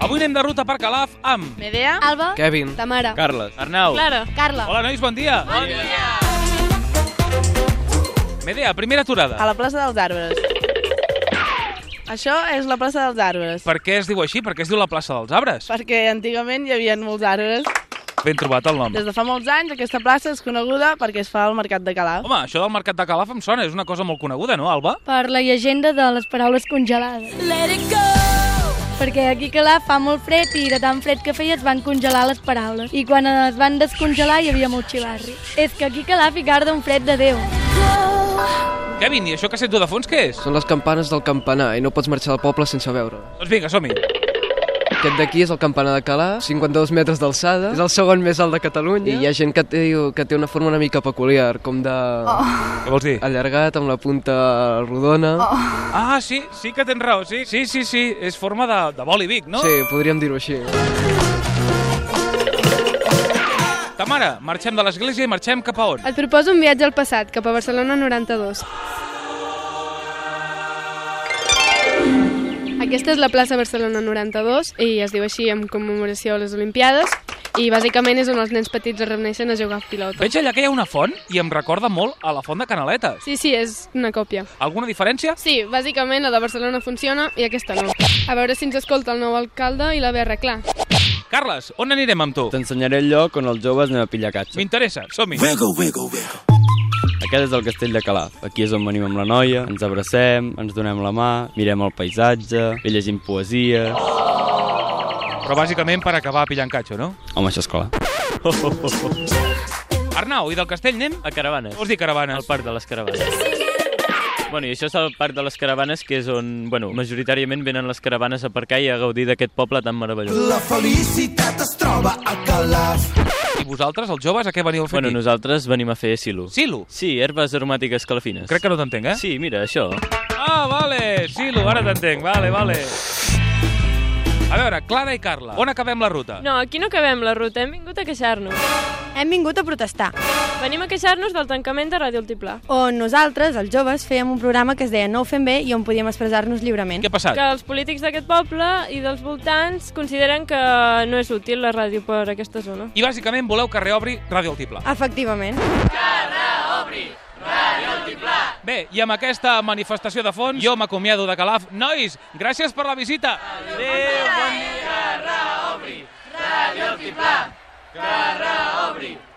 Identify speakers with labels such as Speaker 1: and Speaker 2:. Speaker 1: Avui anem de ruta per Calaf amb...
Speaker 2: Medea.
Speaker 3: Alba.
Speaker 4: Kevin.
Speaker 3: Tamara.
Speaker 1: Carles. Arnau.
Speaker 2: Clara.
Speaker 3: Carla.
Speaker 1: Hola, nois, bon dia. Bon dia. Medea, primera aturada.
Speaker 2: A la plaça dels arbres. Això és la plaça dels arbres.
Speaker 1: Per què es diu així? Per què es diu la plaça dels arbres?
Speaker 2: Perquè antigament hi havia molts arbres.
Speaker 1: Ben trobat el nom.
Speaker 2: Des de fa molts anys aquesta plaça és coneguda perquè es fa al Mercat de Calaf.
Speaker 1: Home, això del mercat de Calaf em sona, és una cosa molt coneguda, no, Alba?
Speaker 3: Per la llegenda de les paraules congelades.
Speaker 5: Let it go.
Speaker 3: Perquè aquí a Calaf fa molt fred i de tan fred que feia es van congelar les paraules. I quan es van descongelar hi havia molt xivarri. És que aquí a Calaf hi garda un fred de Déu.
Speaker 1: Kevin, i això que sento de fons què és?
Speaker 4: Són les campanes del campanar i no pots marxar del poble sense veure.
Speaker 1: Doncs vinga, som-hi.
Speaker 4: Aquest d'aquí és el campanar de Calà, 52 metres d'alçada, és el segon més alt de Catalunya i hi ha gent que té, que té una forma una mica peculiar, com de... Oh.
Speaker 1: Què vols dir?
Speaker 4: allargat, amb la punta rodona. Oh.
Speaker 1: Ah, sí, sí que tens raó, sí. Sí, sí, sí, és forma de, de boli Vic, no?
Speaker 4: Sí, podríem dir-ho així.
Speaker 1: Ta mare, marxem de l'església i marxem cap a on?
Speaker 6: Et proposo un viatge al passat, cap a Barcelona 92. Aquesta és la plaça Barcelona 92 i es diu així en commemoració a les Olimpiades i bàsicament és on els nens petits es reuneixen a jugar a pilota.
Speaker 1: Veig allà que hi ha una font i em recorda molt a la font de Canaletes.
Speaker 6: Sí, sí, és una còpia.
Speaker 1: Alguna diferència?
Speaker 6: Sí, bàsicament la de Barcelona funciona i aquesta no. A veure si ens escolta el nou alcalde i la ve arreglar.
Speaker 1: Carles, on anirem amb tu?
Speaker 7: T'ensenyaré el lloc on els joves anem a pillar catxo.
Speaker 1: M'interessa, som-hi.
Speaker 7: Aquest és el castell de Calaf. Aquí és on venim amb la noia, ens abracem, ens donem la mà, mirem el paisatge, ve llegint poesia...
Speaker 1: Però bàsicament per acabar pillant catxo, no?
Speaker 7: Home, això és clar.
Speaker 1: Arnau, i del castell anem?
Speaker 8: A caravanes.
Speaker 1: Vols dir caravanes?
Speaker 8: Al parc de les caravanes. Bueno, i això és el parc de les caravanes, que és on, bueno, majoritàriament venen les caravanes a aparcar i a gaudir d'aquest poble tan meravellós.
Speaker 9: La felicitat es troba a Calaf.
Speaker 1: I vosaltres, els joves, a què veniu a fer
Speaker 8: Bueno,
Speaker 1: aquí?
Speaker 8: nosaltres venim a fer silo.
Speaker 1: Silo.
Speaker 8: Sí, herbes aromàtiques calafines.
Speaker 1: Crec que no t'entenc, eh?
Speaker 8: Sí, mira, això.
Speaker 1: Ah, vale, Silo, ara t'entenc. Vale, vale. A veure, Clara i Carla, on acabem la ruta?
Speaker 10: No, aquí no acabem la ruta, hem vingut a queixar-nos.
Speaker 11: Hem vingut a protestar,
Speaker 10: Venim a queixar-nos del tancament de Ràdio Altiplà.
Speaker 11: on nosaltres, els joves, fèiem un programa que es deia No ho fem bé i on podíem expressar-nos lliurement.
Speaker 1: Què ha passat?
Speaker 10: Que els polítics d'aquest poble i dels voltants consideren que no és útil la ràdio per aquesta zona.
Speaker 1: I bàsicament voleu que reobri Ràdio Altiplà.
Speaker 11: Efectivament.
Speaker 1: Bé, i amb aquesta manifestació de fons, jo m'acomiado de Calaf. Nois, gràcies per la visita. Adéu, bon dia. Reobri Ràdio Altiplà. Que reobri